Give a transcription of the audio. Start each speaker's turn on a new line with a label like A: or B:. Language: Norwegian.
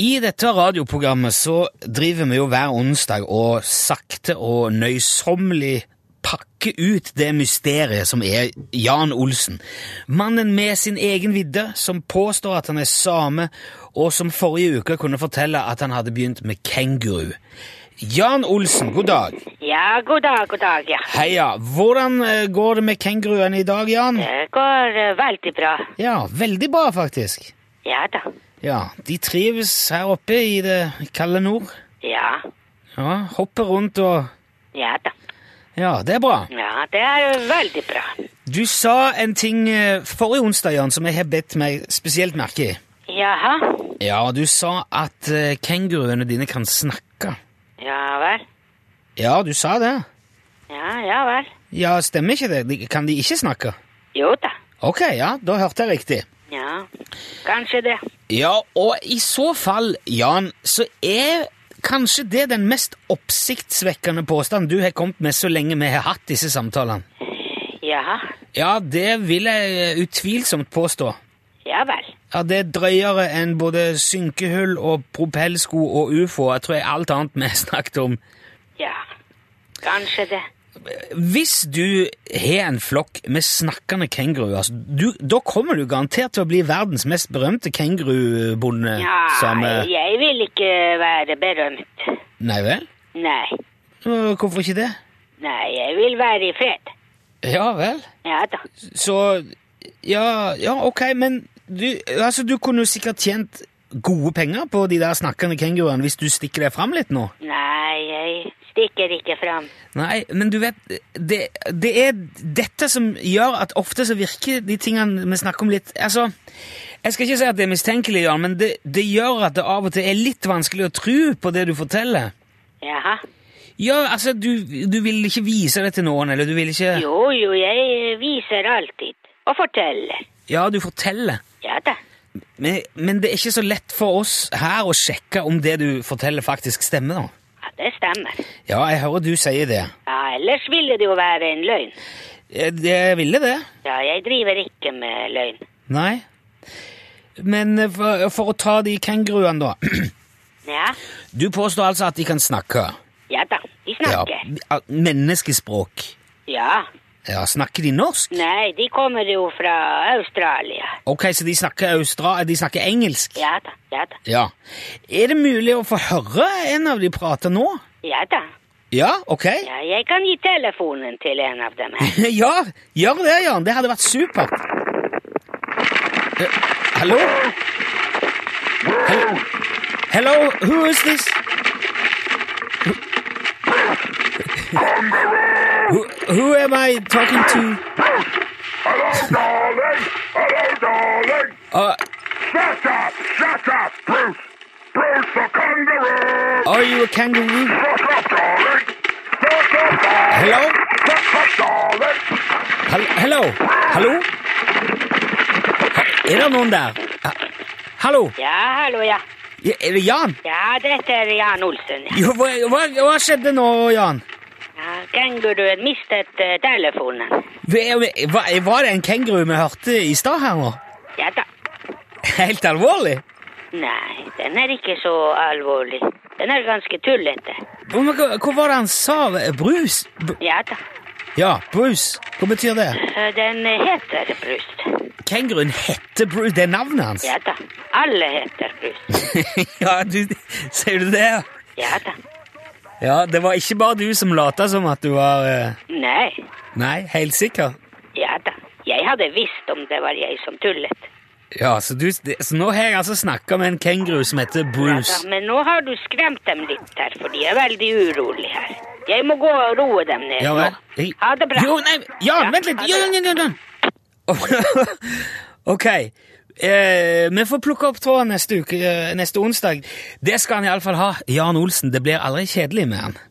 A: I dette radioprogrammet så driver vi jo hver onsdag og sakte og nøysommelig pakker ut det mysteriet som er Jan Olsen. Mannen med sin egen vidde, som påstår at han er same, og som forrige uke kunne fortelle at han hadde begynt med kenguru. Jan Olsen, god dag.
B: Ja, god dag, god dag, ja.
A: Heia. Hvordan eh, går det med kenguruene i dag, Jan?
B: Det går eh, veldig bra.
A: Ja, veldig bra, faktisk.
B: Ja da.
A: Ja, de trives her oppe i det kalde nord.
B: Ja.
A: Ja, hopper rundt og
B: Ja da.
A: Ja, det er bra.
B: Ja, det er veldig bra.
A: Du sa en ting eh, forrige onsdag, Jan, som jeg har bedt meg spesielt merke i.
B: Jaha.
A: Ja, du sa at eh, kenguruene dine kan snakke.
B: Ja vel.
A: Ja, du sa det.
B: Ja, ja vel.
A: Ja, stemmer ikke det? De- Kan de ikke snakke?
B: Jo da.
A: Ok, ja, da hørte jeg riktig.
B: Ja. Kanskje det.
A: Ja, og i så fall, Jan, så er kanskje det den mest oppsiktsvekkende påstanden du har kommet med så lenge vi har hatt disse samtalene.
B: Jaha.
A: Ja, det vil jeg eh, utvilsomt påstå.
B: Ja vel.
A: Ja, det er drøyere enn både synkehull og propellsko og ufo. Jeg tror jeg alt annet vi har snakket om.
B: Ja. Kanskje det.
A: Hvis du har en flokk med snakkende kenguruer, altså, du- da kommer du garantert til å bli verdens mest berømte kengurubonde.
B: Ja,
A: som, eh,
B: jeg vil ikke være berømt.
A: Nei vel?
B: Nei.
A: Eh, Hvorfor ikke det?
B: Nei, jeg vil være i fred.
A: Ja vel?
B: Ja da.
A: Så Ja, ja ok, men du, altså, du kunne jo sikkert tjent gode penger på de der snakkende kenguruene hvis du stikker deg fram litt nå.
B: Nei, jeg stikker ikke fram.
A: Nei, men du vet, det, det er dette som gjør at ofte så virker de tingene vi snakker om litt Altså, jeg skal ikke si at det er mistenkelig, Jan, men det, det gjør at det av og til er litt vanskelig å tro på det du forteller.
B: Jaha.
A: Ja, altså, du, du vil ikke vise det til noen, eller du vil ikke
B: Jo, jo, jeg eh, viser alltid. Og forteller.
A: Ja, du forteller.
B: Ja da.
A: Men, men det er ikke så lett for oss her å sjekke om det du forteller, faktisk stemmer, da.
B: Ja, det stemmer.
A: Ja, jeg hører du sier det.
B: Ja, ellers ville det jo være en løgn.
A: Eh, Jeg ville det.
B: Ja, jeg driver ikke med løgn.
A: Nei. Men eh, for, for å ta de kenguruene, da.
B: Ja,
A: Du påstår altså at de kan snakke?
B: ja da. De snakker.
A: Ja, Menneskespråk.
B: Ja.
A: Ja, Snakker de norsk?
B: Nei, de kommer jo fra Australia.
A: Ok, så de snakker, austra de snakker engelsk?
B: Ja da, ja da.
A: Ja. Er det mulig å få høre en av de prate nå?
B: Ja da.
A: Ja, ok.
B: Ja, jeg kan gi telefonen til en av dem her.
A: Ja, gjør det, Jan. Det hadde vært supert. Eh, Hallo? Hello? Hello, who is this? Who, who am I talking to?
C: Darling! Hello, darling!
A: Uh,
C: Shut up! Shut up, Bruce! Bruce the kangaroo!
A: Are you a kangaroo?
C: Shut up, darling! Shut up, darling!
A: Hello?
C: Shut up, darling!
A: Hall hello? Hallo? Ha- Er det noen der? Ha- Hallo?
B: Ja, hallo, ja.
A: Ja, Er det Jan?
B: Ja, dette er Jan Olsen.
A: Jo, hva, hva, hva skjedde nå, Jan?
B: Ja, Kenguruen mistet eh, telefonen.
A: Hva- hva- Var det en kenguru vi hørte i stad her nå?
B: Ja da.
A: Helt alvorlig?
B: Nei, den er ikke så alvorlig. Den er ganske tullete.
A: Hva, hva- hva var det han sa? Brus? B
B: Ja da.
A: ja, brus. Hva betyr det?
B: Eh, Den heter Brust.
A: Kenguruen heter Brus. Det er navnet hans?
B: Ja da. Alle heter Brust.
A: ja, du, Sier du det?
B: Ja da.
A: Ja, det var ikke bare du som lata som at du var eh,
B: Nei.
A: Nei, helt sikker?
B: Ja da. Jeg hadde visst om det var jeg som tullet.
A: Ja, så, du, det- så nå har jeg altså snakka med en kenguru som heter
B: Ja,
A: Bruce.
B: da. Men nå har du skremt dem litt her, for de er veldig urolige her. Jeg må gå og roe dem ned
A: Ja
B: nå.
A: vel? Jeg-
B: Ha det bra.
A: Jo, nei, Jan,
B: Ja,
A: vent litt!
B: ha det
A: Jan, Jan, Jan, Jan. ok. Eh, vi får plukke opp tråden neste uke, eh, neste onsdag. Det skal han iallfall ha. Jan Olsen. Det blir aldri kjedelig med han.